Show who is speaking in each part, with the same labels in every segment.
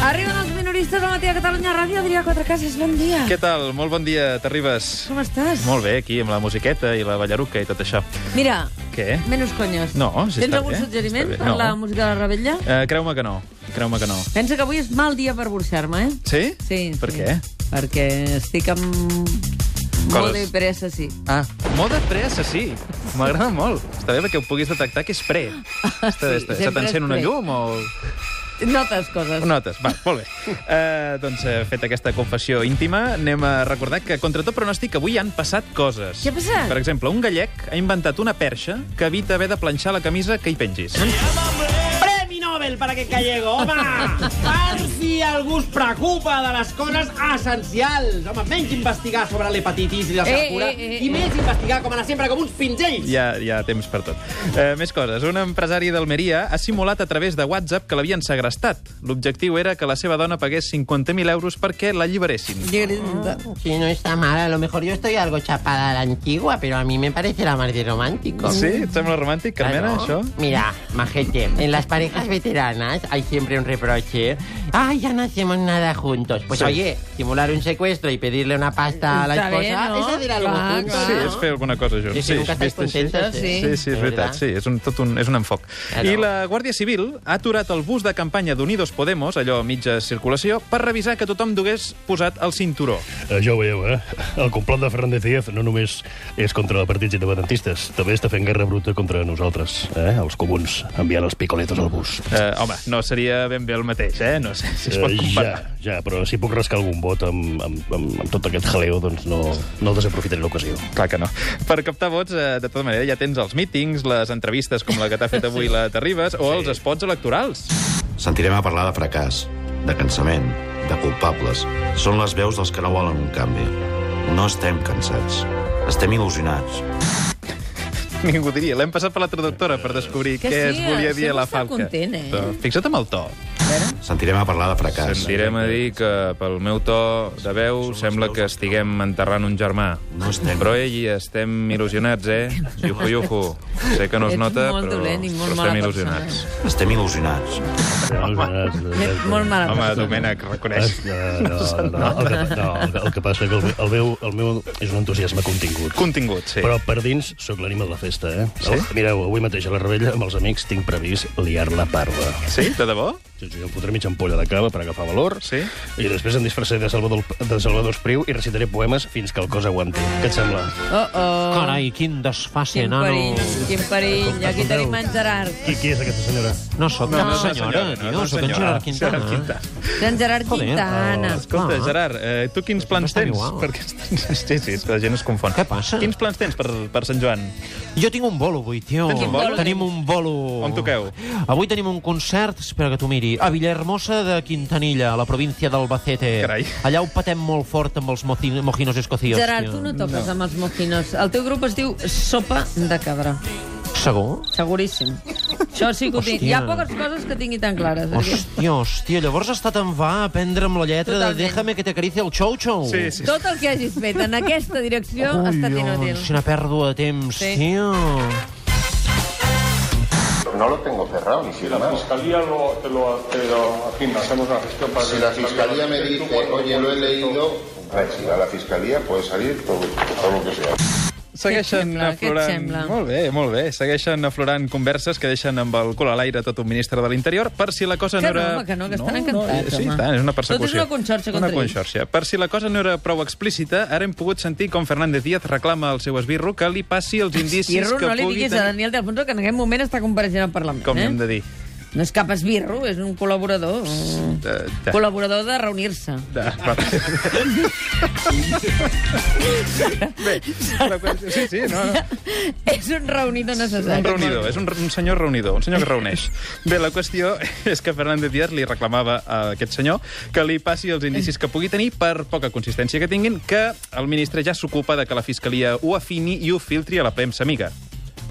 Speaker 1: Arriben els minoristes al matí a Catalunya Ràdio. Adrià Quatrecases, bon dia.
Speaker 2: Què tal? Molt bon dia, t'arribes.
Speaker 1: Com estàs?
Speaker 2: Molt bé, aquí, amb la musiqueta i la ballaruca i tot això.
Speaker 1: Mira,
Speaker 2: Què?
Speaker 1: menos conyos.
Speaker 2: No, si
Speaker 1: Tens
Speaker 2: està
Speaker 1: algun
Speaker 2: bé,
Speaker 1: suggeriment
Speaker 2: està bé.
Speaker 1: per
Speaker 2: No.
Speaker 1: la música de la Rebella?
Speaker 2: Eh, Creu-me que no, creu-me que no.
Speaker 1: Pensa que avui és mal dia per burxar-me, eh?
Speaker 2: Sí?
Speaker 1: Sí,
Speaker 2: Per
Speaker 1: sí.
Speaker 2: què?
Speaker 1: Perquè estic amb... Coses. Molt de pressa, sí.
Speaker 2: Ah, molt de pressa, sí. M'agrada molt. Està bé perquè ho puguis detectar que és pre. Està,
Speaker 1: Ah, sí, sempre
Speaker 2: està, se
Speaker 1: és
Speaker 2: t'encén una
Speaker 1: pre.
Speaker 2: llum o...
Speaker 1: Notes coses.
Speaker 2: Notes, va, molt bé. Uh, doncs, eh, fet aquesta confessió íntima, anem a recordar que, contra tot pronòstic, avui han passat coses.
Speaker 1: Què ha passat?
Speaker 2: Per exemple, un gallec ha inventat una perxa que evita haver de planxar la camisa que hi pengis.
Speaker 3: Premi Nobel per aquest gallego, home! Per si algú es preocupa de les coses essencials. Home, menys investigar sobre l'hepatitis i la
Speaker 1: Eh,
Speaker 3: seva cura,
Speaker 1: eh, eh,
Speaker 3: i més investigar, com anar sempre, com uns pinzells.
Speaker 2: Hi ha, hi ha temps per tot. Eh, més coses. Un empresari d'Almeria ha simulat a través de WhatsApp que l'havien segrestat. L'objectiu era que la seva dona pagués 50.000 euros perquè l'alliberessin. Ah.
Speaker 1: Notes.
Speaker 4: Sí, no está mal. A lo mejor yo estoy algo chapada a la antigua, pero a mí me parece la más de romántico.
Speaker 2: Sí? Et sembla romàntic, Carmena,
Speaker 4: Claro.
Speaker 2: això?
Speaker 4: Mira, majete, en las parejas veteranas hay siempre un reproche. Ay, ya no hacemos nada juntos. Pues
Speaker 2: Sí.
Speaker 4: oye, simular un secuestro y pedirle una pasta a la
Speaker 1: Está
Speaker 4: esposa
Speaker 1: bien, ¿no?
Speaker 4: es hacer algo
Speaker 1: Claro,
Speaker 4: juntos.
Speaker 1: claro.
Speaker 2: Sí, és fer alguna cosa junts.
Speaker 4: Ah, Sí, sí, nunca estáis
Speaker 2: vist així.
Speaker 4: contentos,
Speaker 1: sí.
Speaker 4: ¿eh?
Speaker 2: Sí, sí, és
Speaker 4: De
Speaker 2: veritat, sí, és un, tot un, és un enfoc.
Speaker 4: Claro.
Speaker 2: I la Guàrdia Civil ha aturat el bus de campanya d'Unidos Podemos, allò a mitja circulació, per revisar que tothom dugués posat el cinturó.
Speaker 5: Eh, Ja ho veieu, eh? El complot de Fernández Díaz no només és contra partits independentistes, també està fent guerra bruta contra nosaltres, eh? els comuns, enviant els picoletos al bus.
Speaker 2: Eh, home, no seria ben bé el mateix, eh? No sé si es pot
Speaker 5: Eh,
Speaker 2: comparar.
Speaker 5: ja, ja, però si puc rascar algun vot amb, amb, amb, amb tot aquest jaleo, doncs no, no desaprofitaré l'ocasió.
Speaker 2: Clar que no. Per captar vots, eh, de tota manera, ja tens els mítings, les entrevistes com la que t'ha fet avui la Terribas, o els espots electorals.
Speaker 6: Sentirem a parlar de fracàs, de cansament, de culpables. Són les veus dels que no volen un canvi. No estem cansats. Estem il·lusionats.
Speaker 2: Ningú diria. L'hem passat per la traductora per descobrir
Speaker 1: Que
Speaker 2: què
Speaker 1: sí, eh,
Speaker 2: es volia dir
Speaker 1: sempre
Speaker 2: a la
Speaker 1: està
Speaker 2: falca.
Speaker 1: content, eh?
Speaker 2: Però Fixa't amb el to.
Speaker 6: Sentirem a parlar de fracàs.
Speaker 2: Sentirem a dir que pel meu to de veu sembla que estiguem enterrant un germà.
Speaker 6: No estem.
Speaker 2: Però ell i estem il·lusionats, eh? Yuhu, yuhu. Sé que no es
Speaker 1: Ets
Speaker 2: nota,
Speaker 1: molt
Speaker 2: però,
Speaker 1: dolent i molt
Speaker 2: però
Speaker 1: mala
Speaker 2: estem il·lusionats.
Speaker 6: Estem il·lusionats.
Speaker 1: Ets molt mala
Speaker 2: Home,
Speaker 1: persona.
Speaker 2: Domènec, reconeix.
Speaker 5: Eh, no, no, no, el que, no, el que- el que passa és que el, el, meu, el meu és un entusiasme contingut.
Speaker 2: Contingut, sí.
Speaker 5: Però per dins sóc l'ànima de la festa, eh?
Speaker 2: Sí?
Speaker 5: Mireu, avui mateix a la Rebella amb els amics tinc previst liar la parda.
Speaker 2: Sí, de debò?
Speaker 5: Jo, jo em fotré mitja ampolla de cava per agafar valor
Speaker 2: Sí?
Speaker 5: i després em disfressaré de Salvador, de Salvador Espriu i recitaré poemes fins que el cos aguanti. Què et sembla?
Speaker 1: Oh, oh.
Speaker 7: Carai, quin desfase,
Speaker 1: Quin
Speaker 7: nano.
Speaker 1: perill, quin perill. Aquí tenim en Gerard.
Speaker 5: Qui, qui és aquesta senyora?
Speaker 7: No sóc
Speaker 2: No,
Speaker 7: no,
Speaker 2: no,
Speaker 7: una senyora,
Speaker 1: eh?
Speaker 2: senyora, no,
Speaker 7: tio, sóc
Speaker 2: no,
Speaker 7: en
Speaker 1: doncs
Speaker 2: senyora.
Speaker 7: Gerard Quintana.
Speaker 2: Gerard Quintana.
Speaker 1: Ah. En Gerard
Speaker 7: Joder,
Speaker 1: Quintana.
Speaker 7: oh.
Speaker 2: Escolta,
Speaker 7: Clar.
Speaker 2: Gerard, eh, tu quins plans
Speaker 7: Estan
Speaker 2: tens?
Speaker 1: eh?
Speaker 7: igual.
Speaker 2: Perquè estàs- sí, sí, la gent es confon.
Speaker 7: Què passa?
Speaker 2: Quins plans tens per, per Sant Joan?
Speaker 7: Jo tinc un bolo avui, tio.
Speaker 2: Tens un bolo?
Speaker 7: Tenim un bolo.
Speaker 2: On toqueu?
Speaker 7: Avui tenim un concert, espera que t'ho miri, a Villahermosa de Quintanilla, a la província d'Albacete.
Speaker 2: Carai.
Speaker 7: Allà ho patem molt fort amb els moci- mojinos escocíos.
Speaker 1: Gerard,
Speaker 7: tio.
Speaker 1: tu no toques amb els mojinos. El teu grup es diu Sopa de Cabra.
Speaker 7: Segur?
Speaker 1: Seguríssim. Això sí que ho
Speaker 7: Hòstia.
Speaker 1: tinc. Hi ha poques coses que tingui tan clares. Adrià.
Speaker 7: Hòstia, hòstia, llavors has estat en va a prendre amb la lletra
Speaker 1: Totalment.
Speaker 7: de Déjame que t'acaricia el xou-xou.
Speaker 2: Sí, sí.
Speaker 1: Tot el que hagis fet en aquesta direcció ha estat inútil.
Speaker 7: Collons, quina Doncs pèrdua de temps,
Speaker 1: Sí.
Speaker 7: sí. tio.
Speaker 8: No lo tengo cerrado, ni
Speaker 9: La
Speaker 8: siquiera.
Speaker 9: fiscalía lo, te lo, te lo agenda, hacemos una gestión para
Speaker 8: Si
Speaker 9: que
Speaker 8: la fiscalía me
Speaker 9: tú
Speaker 8: dice,
Speaker 9: guardes
Speaker 8: oye, lo he
Speaker 9: documento".
Speaker 8: leído, si a la fiscalía puede salir todo, todo lo que sea.
Speaker 2: Segueixen
Speaker 1: sembla? Què et
Speaker 2: aflorant...
Speaker 1: sembla?
Speaker 2: Molt bé, molt bé. Segueixen aflorant converses que deixen amb el cul a l'aire tot un ministre de l'Interior per si la cosa
Speaker 1: Que
Speaker 2: no
Speaker 1: no,
Speaker 2: era...
Speaker 1: home, que no, que estan encantats,
Speaker 2: sí,
Speaker 1: home.
Speaker 2: tant, és una
Speaker 1: Tot és
Speaker 2: persecució.
Speaker 1: una conxorxa contra
Speaker 2: Una
Speaker 1: ells.
Speaker 2: conxorxa. Per si la cosa no era prou explícita, ara hem pogut sentir com Fernández Díaz reclama al seu esbirro que li passi els indicis
Speaker 1: Esbirro,
Speaker 2: que
Speaker 1: no li
Speaker 2: pugui
Speaker 1: diguis a Daniel de Alfonso que en aquest moment està compareixent al Parlament.
Speaker 2: Com
Speaker 1: eh?
Speaker 2: hem de dir?
Speaker 1: No és cap esbirro, és un col·laborador. un
Speaker 2: De, de,
Speaker 1: Col·laborador de reunir-se.
Speaker 2: de... Bé, la qüestió- sí, sí, no, no.
Speaker 1: és un reunidor necessari.
Speaker 2: Ah. Un reunidor, és un, un senyor reunidor, un senyor que reuneix. Bé, la qüestió és que Fernández Díaz li reclamava a aquest senyor que li passi els indicis que pugui tenir, per poca consistència que tinguin, que el ministre ja s'ocupa de que la Fiscalia ho afini i ho filtri a la premsa amiga.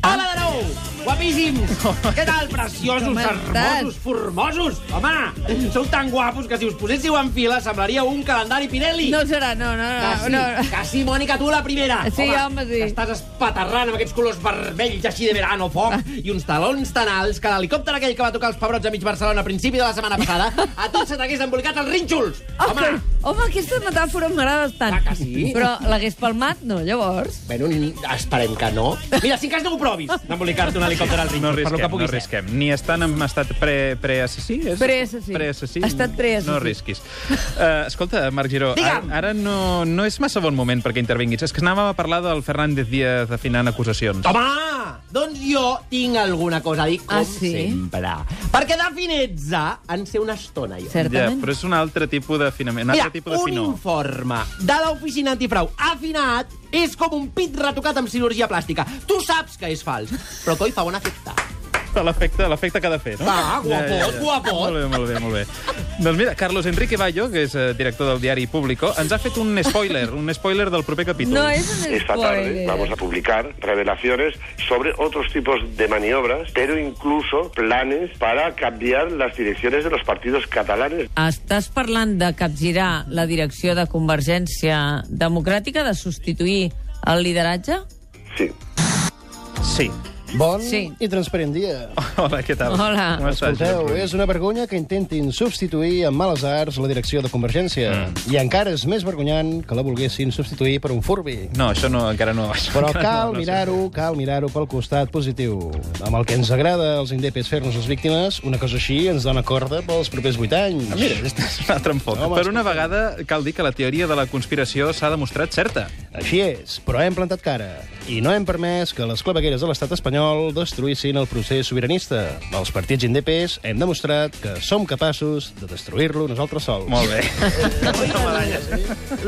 Speaker 10: Ah.
Speaker 3: Hola de nou!
Speaker 10: esteu? Guapíssims! Què tal, preciosos,
Speaker 1: Com estàs?
Speaker 10: hermosos, formosos? Home, sou tan guapos que si us poséssiu en fila semblaria un calendari Pirelli.
Speaker 1: No serà, no, no,
Speaker 10: Que
Speaker 4: Ah,
Speaker 1: no.
Speaker 10: sí,
Speaker 1: no. no.
Speaker 10: que sí, Mònica, tu la primera.
Speaker 1: Sí, home, sí.
Speaker 10: que Estàs espaterrant amb aquests colors vermells així de verano, foc,
Speaker 1: Ah.
Speaker 10: i uns talons tan alts que l'helicòpter aquell que va tocar els pebrots a mig Barcelona a principi de la setmana passada a tots se t'hagués embolicat els rínxols.
Speaker 1: Home,
Speaker 10: Home,
Speaker 1: home, aquesta metàfora m'agrada bastant.
Speaker 10: Clar que sí.
Speaker 1: Però l'hagués palmat, no, llavors.
Speaker 10: Bueno, ni- esperem que no. Mira, si en cas no ho provis, d'embolicar-te un helicòpter al ritme. per lo
Speaker 2: No
Speaker 10: que
Speaker 2: risquem, no
Speaker 10: puguis. ser.
Speaker 2: risquem. Ni estan en estat pre- preassassí? és?
Speaker 1: Preassassí.
Speaker 2: Preassassí.
Speaker 1: Ha estat preassassí.
Speaker 2: No risquis. Uh, escolta, Marc Giró, ara,
Speaker 10: Digue'm.
Speaker 2: ara no, no és massa bon moment perquè intervinguis. És que anàvem a parlar del Fernández Díaz afinant acusacions.
Speaker 10: Home, doncs jo tinc alguna cosa a dir, com
Speaker 1: Ah, sí?
Speaker 10: sempre. Perquè de finezza en sé una estona, jo.
Speaker 2: Ja,
Speaker 1: Certament.
Speaker 2: però és un altre tipus d'afinament, un
Speaker 10: Mira,
Speaker 2: altre tipus de
Speaker 10: un
Speaker 2: finor.
Speaker 10: informe de l'oficina antifrau afinat és com un pit retocat amb cirurgia plàstica. Tu saps que és fals, però coi fa bon efecte.
Speaker 2: De l'efecte l'efecte que ha de fer, no?
Speaker 10: Va, guapot, guapot.
Speaker 2: Molt bé, molt bé, molt bé. doncs mira, Carlos Enrique Bayo, que és eh, director del diari Público, ens ha fet un spoiler, un spoiler del proper capítol.
Speaker 1: No és un
Speaker 9: Esta tarde vamos
Speaker 1: spoiler.
Speaker 9: a publicar revelaciones sobre otros tipos de maniobras, pero incluso planes para cambiar las direcciones de los partidos catalanes.
Speaker 1: Estàs parlant de capgirar la direcció de Convergència Democràtica, de substituir el lideratge?
Speaker 9: Sí.
Speaker 2: Sí.
Speaker 5: Bon
Speaker 1: Sí.
Speaker 5: i transparent dia.
Speaker 2: Hola, què tal?
Speaker 1: Hola.
Speaker 2: Com estàs?
Speaker 5: Escolteu,
Speaker 2: Josep Rull?
Speaker 5: és una vergonya que intentin substituir amb males arts la direcció de Convergència. I encara és més vergonyant que la volguessin substituir per un furbi.
Speaker 2: No, això no, encara no. Això
Speaker 5: Però
Speaker 2: encara
Speaker 5: cal
Speaker 2: no, no sé.
Speaker 5: mirar-ho, cal mirar-ho pel costat positiu. Amb el que ens agrada als indepes fer-nos les víctimes, una cosa així ens dona corda pels propers vuit anys. Mira,
Speaker 2: Ah, És un altre enfoc.
Speaker 5: Home,
Speaker 2: per una vegada cal dir que la teoria de la conspiració s'ha demostrat certa.
Speaker 5: Així és, però hem plantat cara. I no hem permès que les clavegueres de l'estat espanyol destruïssin el procés sobiranista. Els partits indepes hem demostrat que som capaços de destruir-lo nosaltres sols.
Speaker 2: Molt bé.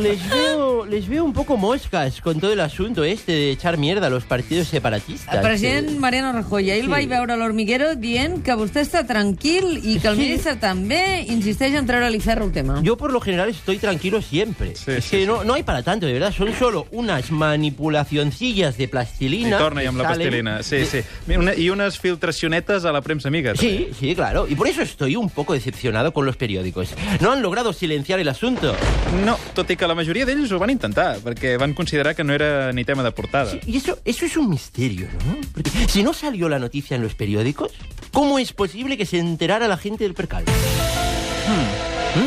Speaker 4: Les veo, les veo un poco moscas con todo el asunto este de echar mierda a los partidos separatistas.
Speaker 1: El president Mariano Rajoy, ahir el
Speaker 4: Sí.
Speaker 1: vaig veure a l'Hormiguero dient que vostè està tranquil i que el ministre també insisteix en treure-li ferro al tema.
Speaker 4: Yo por lo general estoy tranquilo siempre.
Speaker 2: Sí,
Speaker 4: es
Speaker 2: sí,
Speaker 4: que
Speaker 2: sí.
Speaker 4: No, no hay para tanto, de verdad. Son solo unas manipulacioncillas de
Speaker 2: I
Speaker 4: plastilina.
Speaker 2: torna-hi
Speaker 4: que
Speaker 2: amb la
Speaker 4: salen
Speaker 2: pastilina. Sí,
Speaker 4: de-
Speaker 2: sí. I una- I unes filtracionetes a la premsa amiga. també.
Speaker 4: Sí, sí, claro. Y por eso estoy un poco decepcionado con los periódicos. No han logrado silenciar el asunto.
Speaker 2: No, tot i que la majoria d'ells ho van intentar, perquè van considerar que no era ni tema de portada.
Speaker 4: Sí, Y eso, eso es un misterio, ¿no? Porque si no salió la noticia en los periódicos, ¿cómo es posible que se enterara la gente del percal?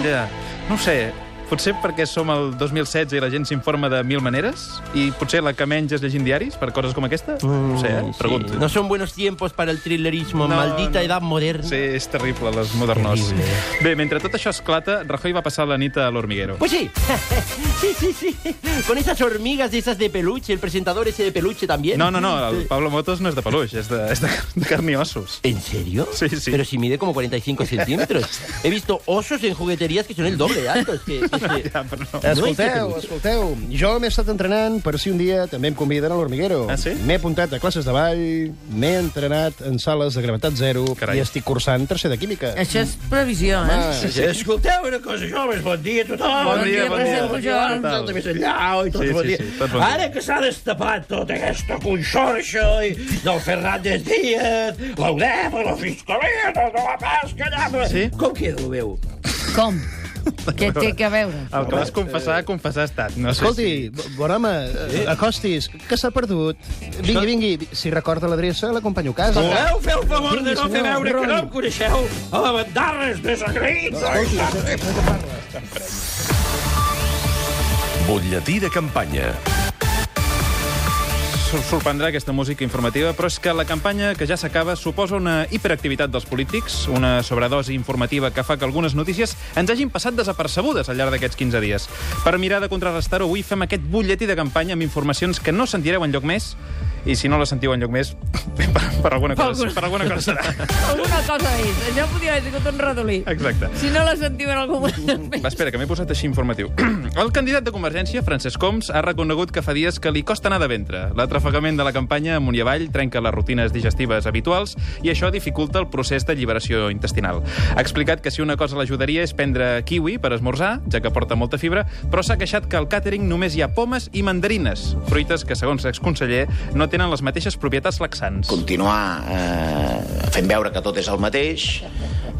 Speaker 2: Ja, no ho sé, potser perquè som al 2016 i la gent s'informa de mil maneres i potser la que menys és llegint diaris per coses com aquesta? No ho sé, eh?
Speaker 4: Mm, sí.
Speaker 2: pregunto.
Speaker 4: No son buenos tiempos para el thrillerismo,
Speaker 2: No,
Speaker 4: maldita
Speaker 2: no.
Speaker 4: edad moderna.
Speaker 2: Sí, és terrible, les modernors.
Speaker 4: Terrible.
Speaker 2: Bé, mentre tot això esclata, Rajoy va passar la nit a l'Hormiguero.
Speaker 4: Pues sí, sí, sí, sí. Con esas hormigas esas de peluche, el presentador ese de peluche también.
Speaker 2: No, no, no, el Pablo Motos no és de peluix, és de, és de, de carn i ossos.
Speaker 4: ¿En serio?
Speaker 2: Sí, sí.
Speaker 4: Pero si mide como 45 centímetros. He visto osos en jugueterías que son el doble de altos. Que, que- que-
Speaker 2: Ja, però no.
Speaker 4: No este és de
Speaker 5: Escolteu,
Speaker 4: peluix.
Speaker 5: escolteu, jo m'he estat entrenant per si un dia també em conviden a l'Hormiguero.
Speaker 2: Ah, sí?
Speaker 5: M'he apuntat a classes de ball, m'he entrenat en sales de gravetat zero
Speaker 2: Carai.
Speaker 5: i estic cursant tercer de química.
Speaker 1: Això és previsió, eh?
Speaker 5: Ah,
Speaker 4: Escolteu una cosa, joves, bon dia a tothom.
Speaker 2: Bon dia, bon dia.
Speaker 1: president Pujol.
Speaker 2: Tal.
Speaker 4: Tot més enllà, i tot
Speaker 2: Sí,
Speaker 4: bon
Speaker 2: sí,
Speaker 4: dia.
Speaker 2: sí, tot bon dia.
Speaker 4: Ara que s'ha destapat tota aquesta consorxa i del Fernández Díaz, l'Udep, la Fiscalia, tota la pesca, allà...
Speaker 2: Sí?
Speaker 4: Com queda, ho veu?
Speaker 1: Com? Què té que veure?
Speaker 2: El que vas confessar, confessar ha estat. No sé
Speaker 5: Escolti, bo- bon home, eh, acostis, que s'ha perdut. Vingui, vingui, si recorda l'adreça, l'acompanyo a casa.
Speaker 4: Podeu fer el favor de no
Speaker 5: Vingui,
Speaker 4: fer
Speaker 5: senyor,
Speaker 4: veure que no em
Speaker 5: Ron.
Speaker 4: coneixeu a la bandarres desagraïts?
Speaker 11: Butlletí de campanya.
Speaker 2: Sor- sorprendrà aquesta música informativa, però és que la campanya que ja s'acaba suposa una hiperactivitat dels polítics, una sobredosi informativa que fa que algunes notícies ens hagin passat desapercebudes al llarg d'aquests 15 dies. Per mirar de contrarrestar-ho, avui fem aquest butlletí de campanya amb informacions que no sentireu enlloc més, i si no la sentiu enlloc més, per, per, alguna,
Speaker 1: Per
Speaker 2: cosa,
Speaker 1: alguna-
Speaker 2: per alguna cosa serà.
Speaker 1: Alguna cosa més. Això podria haver sigut un ratolí.
Speaker 2: Exacte.
Speaker 1: Si no la sentiu en algun moment.
Speaker 2: Va, espera, que m'he posat així informatiu. El candidat de Convergència, Francesc Homs, ha reconegut que fa dies que li costa anar de ventre. L'atrafegament de la campanya amunt i avall trenca les rutines digestives habituals i això dificulta el procés de lliberació intestinal. Ha explicat que si una cosa l'ajudaria és prendre kiwi per esmorzar, ja que porta molta fibra, però s'ha queixat que al càtering només hi ha pomes i mandarines, fruites que, segons l'exconseller, no tenen tenen les mateixes propietats laxants.
Speaker 12: Continuar eh, fent veure que tot és el mateix,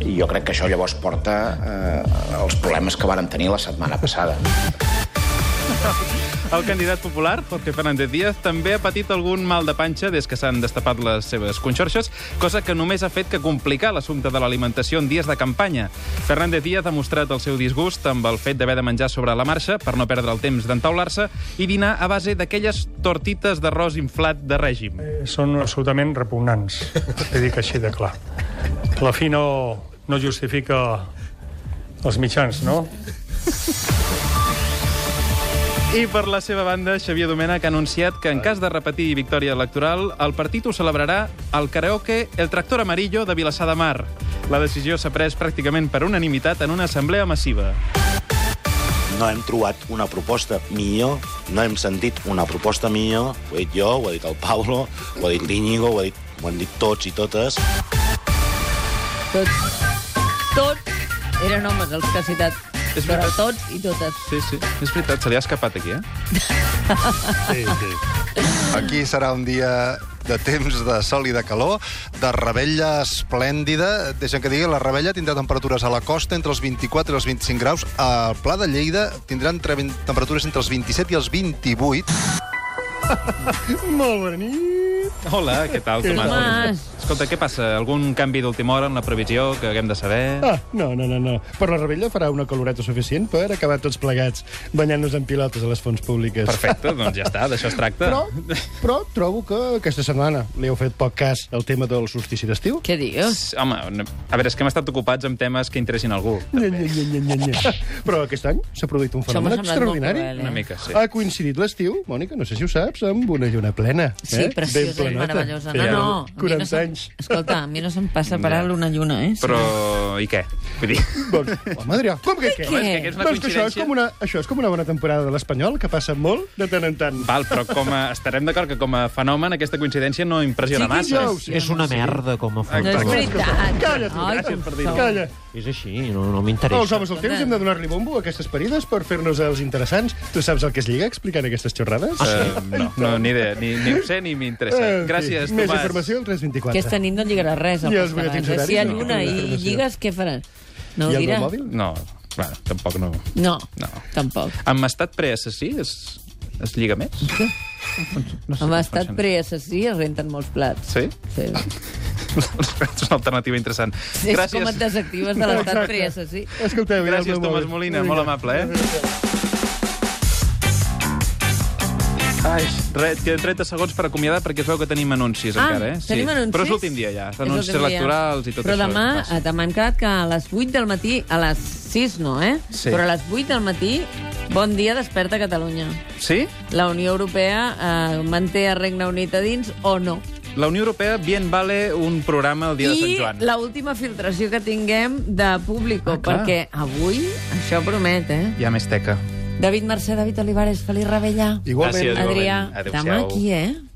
Speaker 12: i jo crec que això llavors porta eh, als problemes que varen tenir la setmana passada.
Speaker 2: El candidat popular, Jorge Fernández Díaz, també ha patit algun mal de panxa des que s'han destapat les seves conxorxes, cosa que només ha fet que complicar l'assumpte de l'alimentació en dies de campanya. Fernández Díaz ha mostrat el seu disgust amb el fet d'haver de menjar sobre la marxa per no perdre el temps d'entaular-se i dinar a base d'aquelles tortites d'arròs inflat de règim.
Speaker 13: Són absolutament repugnants, t'he dit així de clar. La fi no, no justifica els mitjans, no?
Speaker 2: I per la seva banda, Xavier Domènech ha anunciat que en cas de repetir victòria electoral, el partit ho celebrarà al karaoke El Tractor Amarillo de Vilassar de Mar. La decisió s'ha pres pràcticament per unanimitat en una assemblea massiva.
Speaker 14: No hem trobat una proposta millor, no hem sentit una proposta millor. Ho he dit jo, ho ha dit el Pablo, ho ha dit l'Íñigo, ho, ha dit, ho han dit tots i totes.
Speaker 1: Tots, tots eren homes els que ha citat.
Speaker 2: És
Speaker 1: Però
Speaker 2: veritat.
Speaker 1: tots i totes.
Speaker 2: Sí, sí, és veritat, se li ha escapat aquí, eh?
Speaker 15: Sí, sí. Aquí serà un dia de temps de sol i de calor, de rebella esplèndida. Deixa'm que digui, la rebella tindrà temperatures a la costa entre els 24 i els 25 graus. Al Pla de Lleida tindran tre- temperatures entre els 27 i els 28.
Speaker 13: Molt bona nit.
Speaker 2: Hola, què tal, Tomàs?
Speaker 13: Tomàs.
Speaker 2: Escolta, què passa? Algun canvi d'última hora en la previsió que haguem de saber?
Speaker 5: Ah, no, no, no, no. Però la rebella farà una caloreta suficient per acabar tots plegats banyant-nos en pilotes a les fonts públiques.
Speaker 2: Perfecte, doncs ja està, d'això es tracta.
Speaker 5: Però, però trobo que aquesta setmana li heu fet poc cas al tema del solstici d'estiu.
Speaker 1: Què
Speaker 5: Eh?
Speaker 1: dius?
Speaker 2: Home, no- a veure, és que hem estat ocupats amb temes que interessin algú.
Speaker 5: Nya, nya, nya, nya, nya, nya. Però aquest any s'ha produït un
Speaker 2: Això
Speaker 5: fenomen
Speaker 2: m'ha semblat molt
Speaker 5: extraordinari.
Speaker 2: cruel, eh? Una mica, sí.
Speaker 5: Ha coincidit l'estiu, Mònica, no sé si ho saps, amb una lluna plena.
Speaker 1: Sí,
Speaker 5: eh? Ben
Speaker 1: preciosa i
Speaker 5: planota.
Speaker 1: meravellosa. No,
Speaker 5: Feia
Speaker 1: no, a mi no
Speaker 5: 40
Speaker 1: se'm-
Speaker 5: anys.
Speaker 1: Escolta, a mi no se'm passa per ara l'una lluna, eh?
Speaker 2: Però, i què? Vull dir...
Speaker 5: Doncs, home, Adrià, com que què?
Speaker 1: Home, és que és una
Speaker 5: Doncs que això, és
Speaker 2: coincidència.
Speaker 5: com una, això és com una bona temporada de l'Espanyol, que passa molt de tant en tant.
Speaker 2: Val, però com a, estarem d'acord que com a fenomen aquesta coincidència no impressiona
Speaker 5: Sí,
Speaker 2: massa.
Speaker 5: dijous.
Speaker 7: És una merda com a
Speaker 2: Exacte.
Speaker 7: futbol.
Speaker 2: No és
Speaker 1: veritat.
Speaker 5: Calla't, tu,
Speaker 1: Ai,
Speaker 5: gràcies
Speaker 1: com
Speaker 5: per dir-ho.
Speaker 1: sou.
Speaker 5: Calla.
Speaker 7: És així, no, no
Speaker 5: Però
Speaker 7: m'interessa.
Speaker 5: els homes del temps hem de donar-li bombo a aquestes parides per fer-nos els interessants. Tu saps el que es lliga explicant aquestes xorrades?
Speaker 2: Eh, no, no, ni idea, ni, ni ho sé ni m'interessa.
Speaker 5: En fi,
Speaker 2: Gràcies,
Speaker 5: Eh, Més
Speaker 2: Tomàs.
Speaker 5: informació al 324.
Speaker 1: Aquesta nit no lligarà res. al
Speaker 5: I els
Speaker 1: Pascal,
Speaker 5: butlletins
Speaker 1: eh?
Speaker 5: horaris,
Speaker 1: Si hi ha
Speaker 5: no?
Speaker 1: lluna i
Speaker 5: Informació.
Speaker 1: lligues, què faran? No ho
Speaker 2: I el
Speaker 1: diran?
Speaker 2: meu mòbil? No, bueno, tampoc no.
Speaker 1: No,
Speaker 2: No.
Speaker 1: tampoc.
Speaker 2: Amb estat preassassí es, es lliga més?
Speaker 1: No Home, ha estat preassassí, es renten molts plats.
Speaker 2: Sí?
Speaker 1: Sí.
Speaker 2: És una alternativa interessant.
Speaker 1: Sí, És com et desactives de l'estat
Speaker 5: Exacte.
Speaker 1: preassassí.
Speaker 5: Escolteu, mira el
Speaker 2: Gràcies,
Speaker 5: meu
Speaker 2: Tomàs
Speaker 5: mòbil.
Speaker 2: Molina,
Speaker 5: Vinga.
Speaker 2: molt amable, eh? Ai, res, queden 30 segons per acomiadar perquè es veu que tenim anuncis
Speaker 1: Ah,
Speaker 2: encara, eh?
Speaker 1: tenim anuncis?
Speaker 2: Però és l'últim dia ja,
Speaker 1: És
Speaker 2: anuncis
Speaker 1: l'últim dia.
Speaker 2: electorals i tot
Speaker 1: Però
Speaker 2: això.
Speaker 1: demà,
Speaker 2: Vas.
Speaker 1: eh, demà hem quedat que a les 8 del matí, a les 6 no, eh?
Speaker 2: Sí.
Speaker 1: Però a les 8 del matí, bon dia, desperta Catalunya.
Speaker 2: Sí?
Speaker 1: La Unió Europea eh, manté el Regne Unit a dins o no?
Speaker 2: La Unió Europea bien vale un programa el dia de Sant
Speaker 1: I
Speaker 2: Joan.
Speaker 1: la última filtració que tinguem de Público, ah,
Speaker 2: clar.
Speaker 1: perquè avui això promet, eh?
Speaker 2: Hi ha més teca.
Speaker 1: David Mercè, David Olivares, Feliç Rebellà.
Speaker 2: Ah, Igualment. Gràcies,
Speaker 1: Adrià,
Speaker 2: igualment. Adéu-siau.
Speaker 1: demà aquí, eh?